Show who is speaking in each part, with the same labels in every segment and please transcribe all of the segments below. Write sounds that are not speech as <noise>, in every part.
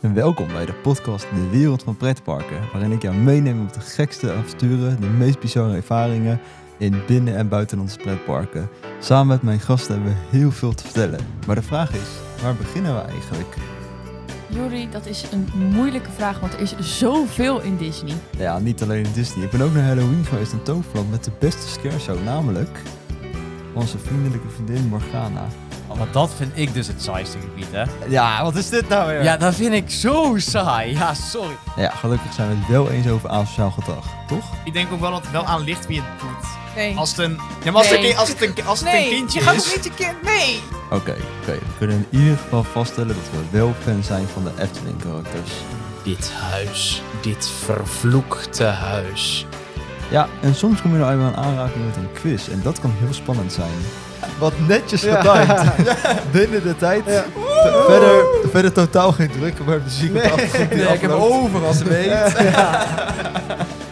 Speaker 1: en welkom bij de podcast De Wereld van Pretparken, waarin ik jou meeneem op de gekste avonturen, de meest bizarre ervaringen in binnen- en buitenlandse pretparken. Samen met mijn gasten hebben we heel veel te vertellen. Maar de vraag is, waar beginnen we eigenlijk?
Speaker 2: Juri, dat is een moeilijke vraag, want er is zoveel in Disney.
Speaker 1: Ja, niet alleen in Disney. Ik ben ook naar Halloween geweest in Toverland met de beste scareshow, namelijk onze vriendelijke vriendin Morgana.
Speaker 3: Want dat vind ik dus het saaiste gebied, hè?
Speaker 1: Ja, wat is dit nou weer?
Speaker 3: Ja, dat vind ik zo saai. Ja, sorry.
Speaker 1: ja gelukkig zijn we het wel eens over asociaal gedrag, toch?
Speaker 4: Ik denk ook wel dat het wel aan ligt wie het doet.
Speaker 2: Nee.
Speaker 4: Als het een, ja, maar als het
Speaker 2: Nee.
Speaker 4: een, als het een, als het een kindje is.
Speaker 2: je kind. Nee!
Speaker 1: Oké, oké. We kunnen in ieder geval vaststellen dat we wel fan zijn van de Efteling-karakters.
Speaker 4: Dit huis, dit vervloekte huis.
Speaker 1: Ja, en soms kom je nou even aan aanraking met een quiz en dat kan heel spannend zijn. Wat netjes
Speaker 3: <laughs>
Speaker 1: getimed. Binnen de tijd. Ver- Verder, verder totaal geen druk, maar de muziek op de achtergrond die afloopt.
Speaker 3: overal ze
Speaker 1: <laughs>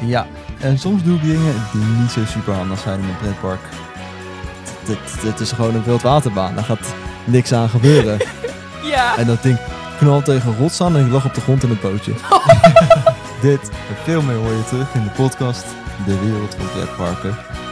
Speaker 1: Ja, en soms doe ik dingen die niet zo super handig zijn in een pretpark. Dit- Dit is gewoon een wildwaterbaan, daar gaat niks aan gebeuren.
Speaker 2: Ja.
Speaker 1: En dat ding knalt tegen een rots aan en ik lag op de grond in het bootje. Dit en veel meer hoor je terug in de podcast De Wereld van Pretparken.